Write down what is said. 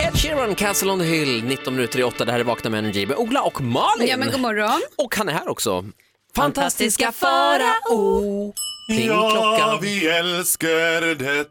Ed Sheeran, Castle on the Hill, 19 minuter i 8. Det här är Vakna med Energy med Ola och Malin. Ja men god morgon. Och han är här också. Fantastiska farao. Pling Ja, klockan. vi älskar detta